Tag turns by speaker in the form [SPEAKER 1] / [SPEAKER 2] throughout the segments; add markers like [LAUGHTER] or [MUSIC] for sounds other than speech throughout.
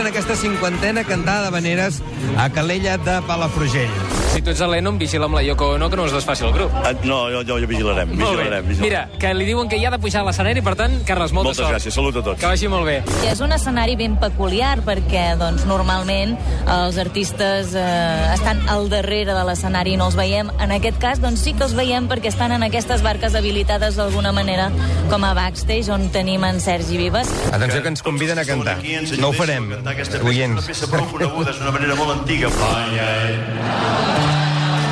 [SPEAKER 1] en aquesta cinquantena cantada d'habaneres a Calella de Palafrugell.
[SPEAKER 2] Si tu ets a Lennon, vigila amb la Yoko Ono que no es desfaci el grup.
[SPEAKER 3] Ah, No, jo, jo, jo vigilarem,
[SPEAKER 2] Molt bé.
[SPEAKER 3] vigilarem, vigilarem.
[SPEAKER 2] Mira, que li diuen que hi ha de pujar a l'escenari, per tant, Carles, molta
[SPEAKER 3] Moltes
[SPEAKER 2] sort.
[SPEAKER 3] gràcies, salut a tots.
[SPEAKER 2] Que vagi molt bé.
[SPEAKER 4] I És un escenari ben peculiar perquè doncs, normalment els artistes eh, estan al darrere de l'escenari i no els veiem. En aquest cas doncs, sí que els veiem perquè estan en aquestes barques habilitades d'alguna manera com a backstage on tenim en Sergi Vives.
[SPEAKER 1] Atenció, que ens conviden a cantar. No ho farem,
[SPEAKER 5] Oients.
[SPEAKER 1] oients.
[SPEAKER 5] És una peça prou coneguda, és una manera molt antiga. Ai, ai.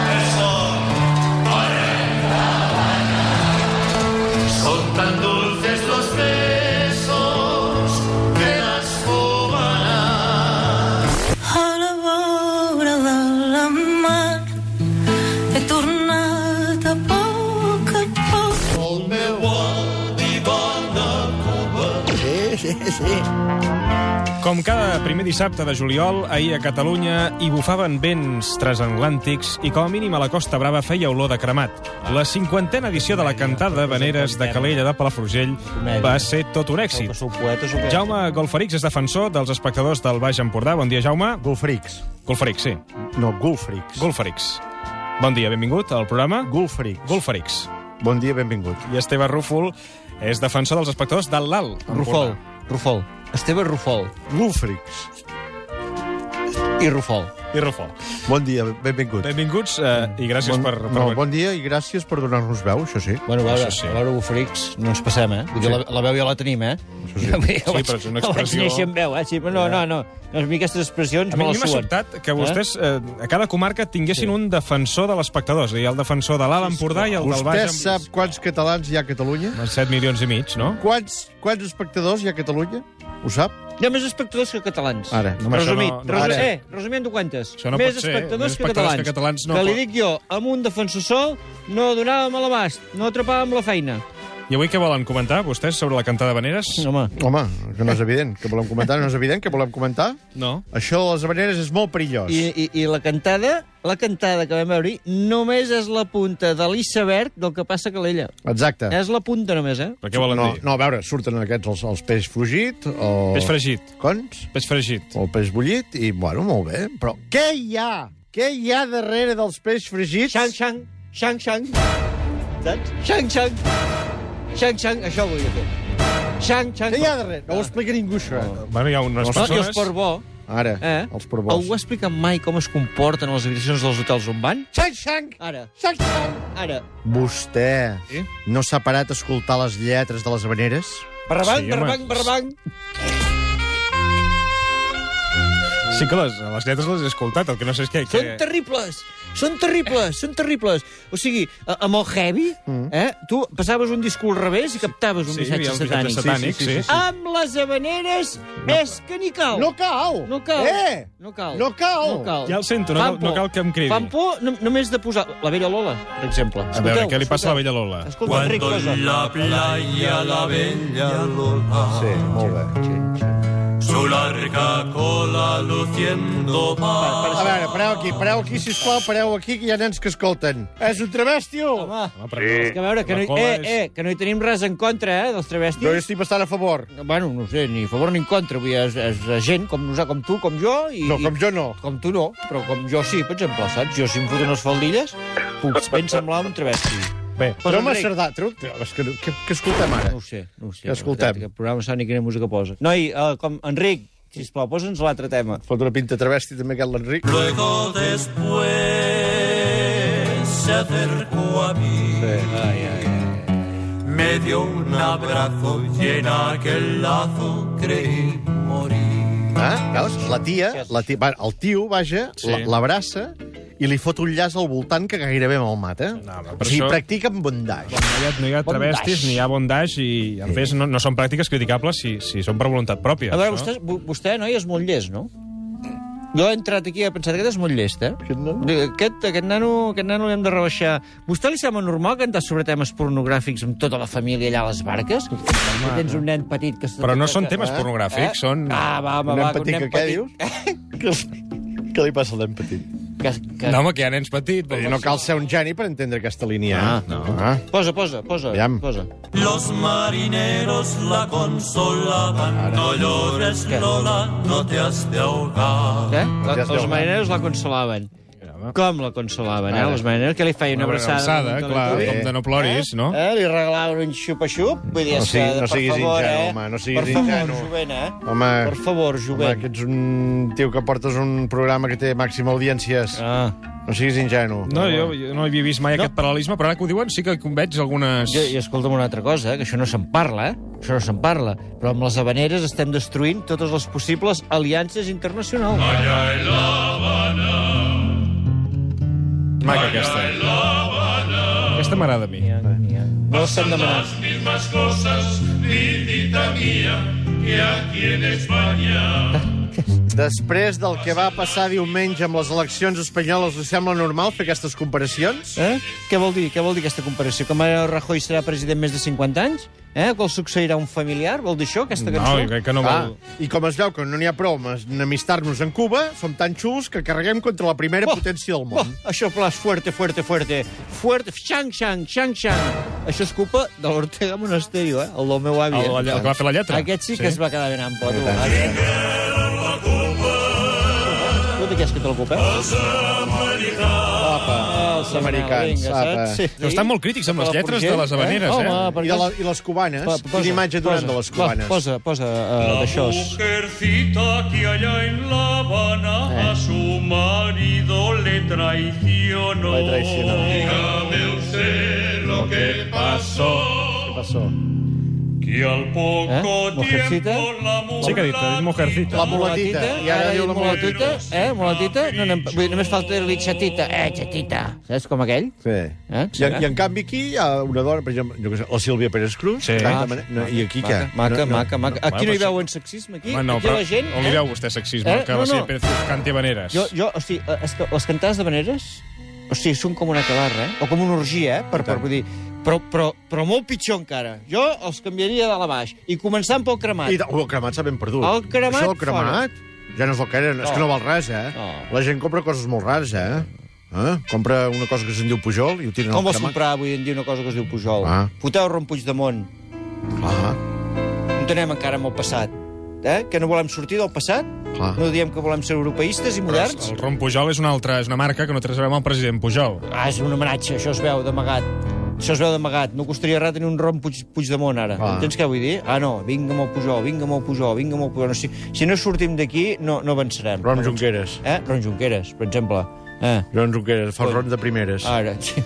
[SPEAKER 5] Eso. Ai, ai. Son tan dulces los besos de las jóvenes.
[SPEAKER 6] A la vora de la mar he tornat a poc a poc.
[SPEAKER 5] El meu adivan a Cuba.
[SPEAKER 7] Com cada primer dissabte de juliol, ahir a Catalunya hi bufaven vents transatlàntics i com a mínim a la Costa Brava feia olor de cremat. La cinquantena edició de la cantada Veneres de Calella de Palafrugell va ser tot un èxit. Jaume Golferix és defensor dels espectadors del Baix Empordà. Bon dia, Jaume.
[SPEAKER 8] Golfrics.
[SPEAKER 7] Golferix, sí.
[SPEAKER 8] No, Gulfrics.
[SPEAKER 7] Golferix. Bon dia, benvingut al programa.
[SPEAKER 8] Gulfrics.
[SPEAKER 7] Golferix.
[SPEAKER 8] Bon dia, benvingut.
[SPEAKER 7] I Esteve Rúfol és defensor dels espectadors del LAL. Empordà.
[SPEAKER 9] Rufol, Rufol. Esteve Rufol
[SPEAKER 8] Gulfrics.
[SPEAKER 9] i Rufol.
[SPEAKER 7] I Rúfol.
[SPEAKER 8] Bon dia, benvingut.
[SPEAKER 7] Benvinguts eh, i gràcies
[SPEAKER 8] Bon,
[SPEAKER 7] per... per
[SPEAKER 8] no, bon dia i gràcies per donar-nos veu, això sí.
[SPEAKER 9] Bueno, a veure,
[SPEAKER 7] Això sí.
[SPEAKER 9] sí. a veure, Bufrix, no ens passem, eh? Vull dir, la, la veu ja la tenim, eh?
[SPEAKER 8] Això sí.
[SPEAKER 9] Jo, jo
[SPEAKER 7] Sí, però és una
[SPEAKER 9] jo Vaig
[SPEAKER 7] expressió-
[SPEAKER 9] néixer amb veu, eh? Sí, però no, no, no. no a mi aquestes expressions
[SPEAKER 7] A mi, a
[SPEAKER 9] me
[SPEAKER 7] mi
[SPEAKER 9] les
[SPEAKER 7] m'ha
[SPEAKER 9] suen.
[SPEAKER 7] sobtat que vostès eh, a cada comarca tinguessin sí. un defensor de l'espectador, és a dir, el defensor de l'Alt Empordà i el del
[SPEAKER 8] Vostè
[SPEAKER 7] Baix...
[SPEAKER 8] sap quants catalans hi ha a Catalunya?
[SPEAKER 7] 7 milions i mig, no?
[SPEAKER 8] Quants, quants espectadors hi ha a Catalunya? Ho sap?
[SPEAKER 9] Hi ha més espectadors que catalans.
[SPEAKER 8] Ara, no, això
[SPEAKER 9] Resumit,
[SPEAKER 7] no-
[SPEAKER 9] no,
[SPEAKER 7] no,
[SPEAKER 9] no,
[SPEAKER 7] ara.
[SPEAKER 9] eh, resumint ho quantes.
[SPEAKER 7] Això no
[SPEAKER 9] més
[SPEAKER 7] pot ser,
[SPEAKER 9] espectadors
[SPEAKER 7] més
[SPEAKER 9] que
[SPEAKER 7] espectadors
[SPEAKER 9] catalans.
[SPEAKER 7] que catalans no
[SPEAKER 9] que li
[SPEAKER 7] pot-
[SPEAKER 9] dic jo, amb un defensor sol, no donàvem a l'abast, no atrapàvem la feina.
[SPEAKER 7] I avui què volen comentar, vostès, sobre la cantada d'Habaneres?
[SPEAKER 9] Home,
[SPEAKER 8] Home, que no és evident, que volem comentar, no és evident, que volem comentar.
[SPEAKER 7] no.
[SPEAKER 8] Això de les habaneres és molt perillós.
[SPEAKER 9] I, i, I la cantada, la cantada que vam veure només és la punta de l'iceberg del que passa a Calella.
[SPEAKER 8] Exacte.
[SPEAKER 9] És la punta només, eh?
[SPEAKER 7] Però què volen
[SPEAKER 8] no,
[SPEAKER 7] dir?
[SPEAKER 8] no, a veure, surten aquests els, els peix fugit, o...
[SPEAKER 7] Peix fregit.
[SPEAKER 8] Cons?
[SPEAKER 7] Peix fregit.
[SPEAKER 8] o el peix bullit, i, bueno, molt bé. Però què hi ha? Què hi ha darrere dels peix fregits?
[SPEAKER 9] Xang, xang, xang, xang. Saps? Xang, xang. Xang, xang, això ho volia fer. Xang, xang.
[SPEAKER 8] Què hi ha darrere? No ho explica ningú, això. eh?
[SPEAKER 7] Bueno, hi ha unes
[SPEAKER 9] No, I
[SPEAKER 7] persones...
[SPEAKER 9] els porbó,
[SPEAKER 8] Ara,
[SPEAKER 9] eh?
[SPEAKER 8] els
[SPEAKER 9] Algú
[SPEAKER 8] probols.
[SPEAKER 9] ha explicat mai com es comporten les habitacions dels hotels on van?
[SPEAKER 8] Xang, xang!
[SPEAKER 9] Ara,
[SPEAKER 8] Xang, xang!
[SPEAKER 9] ara.
[SPEAKER 8] Vostè
[SPEAKER 7] Sí?
[SPEAKER 8] no s'ha parat a escoltar les lletres de les habaneres?
[SPEAKER 9] Barrabanc,
[SPEAKER 7] Sí,
[SPEAKER 9] sí,
[SPEAKER 7] home.
[SPEAKER 9] barrabanc, barrabanc.
[SPEAKER 7] Sí que les, les lletres les he escoltat, el que no sé és què...
[SPEAKER 9] Són
[SPEAKER 7] què...
[SPEAKER 9] terribles, són terribles, són terribles. O sigui, a- amb el heavy, eh, tu passaves un discurs al revés i captaves un
[SPEAKER 7] Mm. Sí, hi havia
[SPEAKER 9] missatge
[SPEAKER 7] un missatge satànic,
[SPEAKER 9] satànic.
[SPEAKER 7] sí. sí, sí, sí.
[SPEAKER 9] Amb les habaneres és que ni cal.
[SPEAKER 8] No cal!
[SPEAKER 9] No cal.
[SPEAKER 8] Eh!
[SPEAKER 9] No cal.
[SPEAKER 8] No cal.
[SPEAKER 9] No cal.
[SPEAKER 7] Ja el sento, no
[SPEAKER 9] Fan
[SPEAKER 7] cal- no
[SPEAKER 9] por.
[SPEAKER 7] cal que em cridi.
[SPEAKER 9] Fan por no, només de posar la vella Lola, per exemple.
[SPEAKER 7] A veure, què li passa a la vella Lola?
[SPEAKER 9] Escolta, Enric Rosa.
[SPEAKER 5] la playa la bella Lola
[SPEAKER 8] Sí, molt bé.
[SPEAKER 5] Su larga cola luciendo
[SPEAKER 8] A
[SPEAKER 5] más
[SPEAKER 8] veure, pareu aquí, pareu aquí, sisplau, pareu aquí, que hi ha nens que escolten. És un travestio!
[SPEAKER 9] Home,
[SPEAKER 7] Home, però no.
[SPEAKER 9] és que a veure, que
[SPEAKER 7] La
[SPEAKER 9] no, hi-
[SPEAKER 7] cola
[SPEAKER 9] eh,
[SPEAKER 7] és-
[SPEAKER 9] eh, que no hi tenim res en contra, eh,
[SPEAKER 8] Jo
[SPEAKER 9] dels
[SPEAKER 8] hi
[SPEAKER 9] travestis.
[SPEAKER 8] estic bastant a favor.
[SPEAKER 9] Bueno, no sé, ni a favor ni en contra. Vull dir, és, és gent com nosaltres, com tu, com jo... I,
[SPEAKER 8] No, com
[SPEAKER 9] i-
[SPEAKER 8] jo no.
[SPEAKER 9] Com tu no, però com jo sí, per exemple, saps? Jo si em foten les faldilles, puc ben semblar un travesti.
[SPEAKER 7] Bé,
[SPEAKER 9] Però,
[SPEAKER 8] Però, home,
[SPEAKER 9] Enric-
[SPEAKER 8] Cerdà, treu... És que, que, que escoltem ara?
[SPEAKER 9] No ho sé, no ho sé.
[SPEAKER 8] Escoltem.
[SPEAKER 9] Aquest programa sap ni quina música posa. Noi, eh, com Enric, sisplau, posa'ns l'altre tema.
[SPEAKER 8] Fot una pinta travesti també aquest l'Enric.
[SPEAKER 5] Luego después se acercó a mí Me dio un abrazo y en aquel lazo creí morir
[SPEAKER 8] Ah, veus? La tia, la tia va, el tio, vaja,
[SPEAKER 7] Sí.
[SPEAKER 8] sí. l'abraça i li fot un llaç al voltant que gairebé me'l mata.
[SPEAKER 7] No, però
[SPEAKER 8] o sigui,
[SPEAKER 7] això-
[SPEAKER 8] practica amb bondage.
[SPEAKER 7] No hi ha, no hi ha travestis, ni hi ha bondage, i a més no, no són pràctiques criticables si, si són per voluntat pròpia.
[SPEAKER 9] A veure,
[SPEAKER 7] això.
[SPEAKER 9] vostè, vo- vostè, noi, és molt llest, no? Jo he entrat aquí i he pensat, aquest és molt llest, eh? Aquest nano? Aquest, aquest nano, aquest nano l'hem de rebaixar. Vostè li sembla normal cantar sobre temes pornogràfics amb tota la família allà a les barques? Home, tens un nen petit que...
[SPEAKER 7] Però no són
[SPEAKER 9] que-
[SPEAKER 7] temes
[SPEAKER 9] eh?
[SPEAKER 7] pornogràfics, són-
[SPEAKER 9] Ah, va, home,
[SPEAKER 8] Un nen
[SPEAKER 9] va, que un
[SPEAKER 8] petit que
[SPEAKER 9] nen
[SPEAKER 8] què
[SPEAKER 9] petit... [LAUGHS]
[SPEAKER 8] dius? Què li passa al nen petit?
[SPEAKER 9] Que, que...
[SPEAKER 3] No, home, que hi ha nens petits.
[SPEAKER 8] Vull dir, No cal ser un geni per entendre aquesta línia.
[SPEAKER 9] Ah,
[SPEAKER 8] eh? Ah.
[SPEAKER 9] Posa, posa, posa.
[SPEAKER 8] Aviam.
[SPEAKER 9] posa.
[SPEAKER 5] Los marineros la consolaban. No llores,
[SPEAKER 9] ¿Qué?
[SPEAKER 5] Lola, no te has de ahogar.
[SPEAKER 9] Eh? La,
[SPEAKER 8] Ah, Ja es veu,
[SPEAKER 9] els marineros la consolaven. Com la consolaven, eh?
[SPEAKER 8] Ara.
[SPEAKER 9] Els marineros que li feien una abraçada.
[SPEAKER 3] abraçada,
[SPEAKER 9] un
[SPEAKER 3] clar,
[SPEAKER 9] calentó.
[SPEAKER 3] com de no ploris, no?
[SPEAKER 9] Eh? Li regalaven un xupa-xup. Vull dir,
[SPEAKER 8] Mm. No
[SPEAKER 9] és que,
[SPEAKER 8] sigui- no
[SPEAKER 9] per
[SPEAKER 8] siguis
[SPEAKER 9] favor,
[SPEAKER 8] ingenu,
[SPEAKER 9] eh?
[SPEAKER 8] home, no siguis
[SPEAKER 9] per favor,
[SPEAKER 8] ingenu.
[SPEAKER 9] jovent, eh?
[SPEAKER 8] Home,
[SPEAKER 9] Per favor,
[SPEAKER 8] home,
[SPEAKER 9] jovent.
[SPEAKER 8] que ets un tio que portes un programa que té màxima audiències.
[SPEAKER 9] Ah.
[SPEAKER 8] No siguis ingenu.
[SPEAKER 7] No, jo, jo no havia vist mai no. aquest paral·lelisme, però ara que ho diuen sí que veig algunes...
[SPEAKER 9] I, I escolta'm una altra cosa, que això no se'n parla, eh? Això no se'n parla. Però amb les habaneres estem destruint totes les possibles aliances internacionals.
[SPEAKER 7] Maca, aquesta. Aquesta m'agrada a mi.
[SPEAKER 9] No estem demanant.
[SPEAKER 5] mismas cosas, lindita mía, que aquí en España.
[SPEAKER 8] Després del que va passar diumenge amb les eleccions espanyoles, us sembla normal fer aquestes comparacions?
[SPEAKER 9] Eh? Què vol dir? Què vol dir aquesta comparació? Que Mariano Rajoy serà president més de 50 anys? Eh? Que el succeirà un familiar? Vol dir això, aquesta
[SPEAKER 7] No,
[SPEAKER 9] cançó?
[SPEAKER 7] jo crec que no vol...
[SPEAKER 8] Ah, I com es veu que no n'hi ha prou amb enemistar-nos en Cuba, som tan xulos que carreguem contra la primera
[SPEAKER 9] Oh,
[SPEAKER 8] potència del
[SPEAKER 9] Oh,
[SPEAKER 8] món.
[SPEAKER 9] això plas fuerte, fuerte, fuerte. Fuerte, xang, xang, xang, xang. Això és culpa de l'Ortega Monasterio, eh? El del meu avi.
[SPEAKER 7] El,
[SPEAKER 9] eh?
[SPEAKER 7] el, el que va fer la lletra.
[SPEAKER 9] Aquest sí que es va quedar ben ample, tu. eh? Tu de què has que te'l copeu? Els americans. Els
[SPEAKER 8] americans, apa.
[SPEAKER 7] Però estan molt crítics amb les lletres de les habaneres, eh?
[SPEAKER 9] Home,
[SPEAKER 8] I,
[SPEAKER 9] perquè...
[SPEAKER 8] de la, I les cubanes?
[SPEAKER 9] Pa-
[SPEAKER 8] Quina imatge donant
[SPEAKER 9] posa,
[SPEAKER 8] de les cubanes?
[SPEAKER 9] Va, posa, posa uh,
[SPEAKER 7] eh,
[SPEAKER 9] d'això.
[SPEAKER 5] Mujercita que allá en La Habana a su marido le traicionó.
[SPEAKER 8] Le traicionó.
[SPEAKER 5] Dígame usted lo que pasó.
[SPEAKER 8] Què passó?
[SPEAKER 5] Que al poco
[SPEAKER 9] ¿Eh? ¿Mujercita?
[SPEAKER 5] tiempo la mujer.
[SPEAKER 7] Sí que ha dit, ha dit mujercita.
[SPEAKER 8] La mulatita. I ara diu la mulatita.
[SPEAKER 9] mulatita. Eh, mulatita? No, no, vull dir, només falta dir-li xatita. Eh, xatita. Saps com aquell?
[SPEAKER 8] Sí.
[SPEAKER 9] Eh?
[SPEAKER 8] I, en- I en canvi aquí hi ha una dona, per exemple, jo què sé, la Sílvia Pérez Cruz.
[SPEAKER 7] Sí.
[SPEAKER 8] que
[SPEAKER 7] Ah,
[SPEAKER 8] demana- no, I aquí
[SPEAKER 9] Maca,
[SPEAKER 8] què?
[SPEAKER 9] maca,
[SPEAKER 8] No, no.
[SPEAKER 9] maca, maca. Aquí
[SPEAKER 7] Bueno,
[SPEAKER 9] no hi
[SPEAKER 7] però
[SPEAKER 9] veuen sexisme, aquí.
[SPEAKER 7] Home, no,
[SPEAKER 9] aquí
[SPEAKER 7] però
[SPEAKER 9] la gent...
[SPEAKER 7] on li veu vostè sexisme?
[SPEAKER 9] Eh?
[SPEAKER 7] Que
[SPEAKER 9] No,
[SPEAKER 7] va ser
[SPEAKER 9] no.
[SPEAKER 7] Pérez Cruz canti habaneres.
[SPEAKER 9] Jo, jo, o sigui, eh, és que les cantades de veneres, o sigui, són com una calarra, eh? O com una orgia, eh? Per, per, vull dir, però, però, però molt pitjor encara. Jo els canviaria de la baix. I començant pel cremat.
[SPEAKER 8] I de, oh, el cremat s'ha ben perdut.
[SPEAKER 9] El cremat, Oh.
[SPEAKER 8] Això del cremat ja no és el que era, és que no val res, eh?
[SPEAKER 9] No.
[SPEAKER 8] La gent compra coses molt rares, eh? eh? Compra una cosa que se'n diu Pujol i ho tiren
[SPEAKER 9] Com
[SPEAKER 8] al
[SPEAKER 9] vols
[SPEAKER 8] cremat.
[SPEAKER 9] comprar avui en dia una cosa que es diu Pujol?
[SPEAKER 8] Ah.
[SPEAKER 9] Foteu Ron Puigdemont.
[SPEAKER 8] Clar,
[SPEAKER 9] No tenem encara amb el passat. Eh? Que no volem sortir del passat?
[SPEAKER 8] Clar.
[SPEAKER 9] No diem que volem ser europeistes i moderns?
[SPEAKER 7] El Ron Pujol és una altra, és una marca que no té res a veure amb el president Pujol.
[SPEAKER 9] Ah, és un homenatge, això es veu d'amagat. Això es veu d'amagat. No costaria res tenir un rom Puig, Puigdemont, ara. Ah.
[SPEAKER 8] Ah.
[SPEAKER 9] Entens què vull dir? Ah, no, vinga amb el Pujol, vinga amb el Pujol, vinga amb el Pujol. No, si, si no sortim d'aquí, no, no avançarem.
[SPEAKER 8] Ron Junqueras.
[SPEAKER 9] Eh? Ron Junqueras, per exemple. Eh?
[SPEAKER 8] Ron Junqueras, fa el ron de primeres.
[SPEAKER 9] Ara, sí.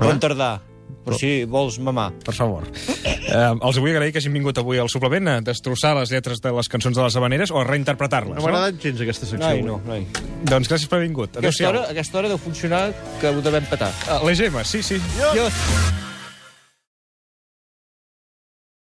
[SPEAKER 9] Ron Tardà. Però si vols mamar.
[SPEAKER 7] Per favor. Eh, els vull agrair que hagin vingut avui al suplement a destrossar les lletres de les cançons de les habaneres o a reinterpretar-les.
[SPEAKER 8] No m'ha agradat gens aquesta secció.
[SPEAKER 9] Noi,
[SPEAKER 8] avui.
[SPEAKER 9] no, noi.
[SPEAKER 7] Doncs gràcies per haver vingut.
[SPEAKER 9] Aquesta
[SPEAKER 7] Adéu-siau.
[SPEAKER 9] hora, aquesta hora deu funcionar que ho devem petar.
[SPEAKER 7] Ah, L'EGM, sí, sí.
[SPEAKER 9] Adiós.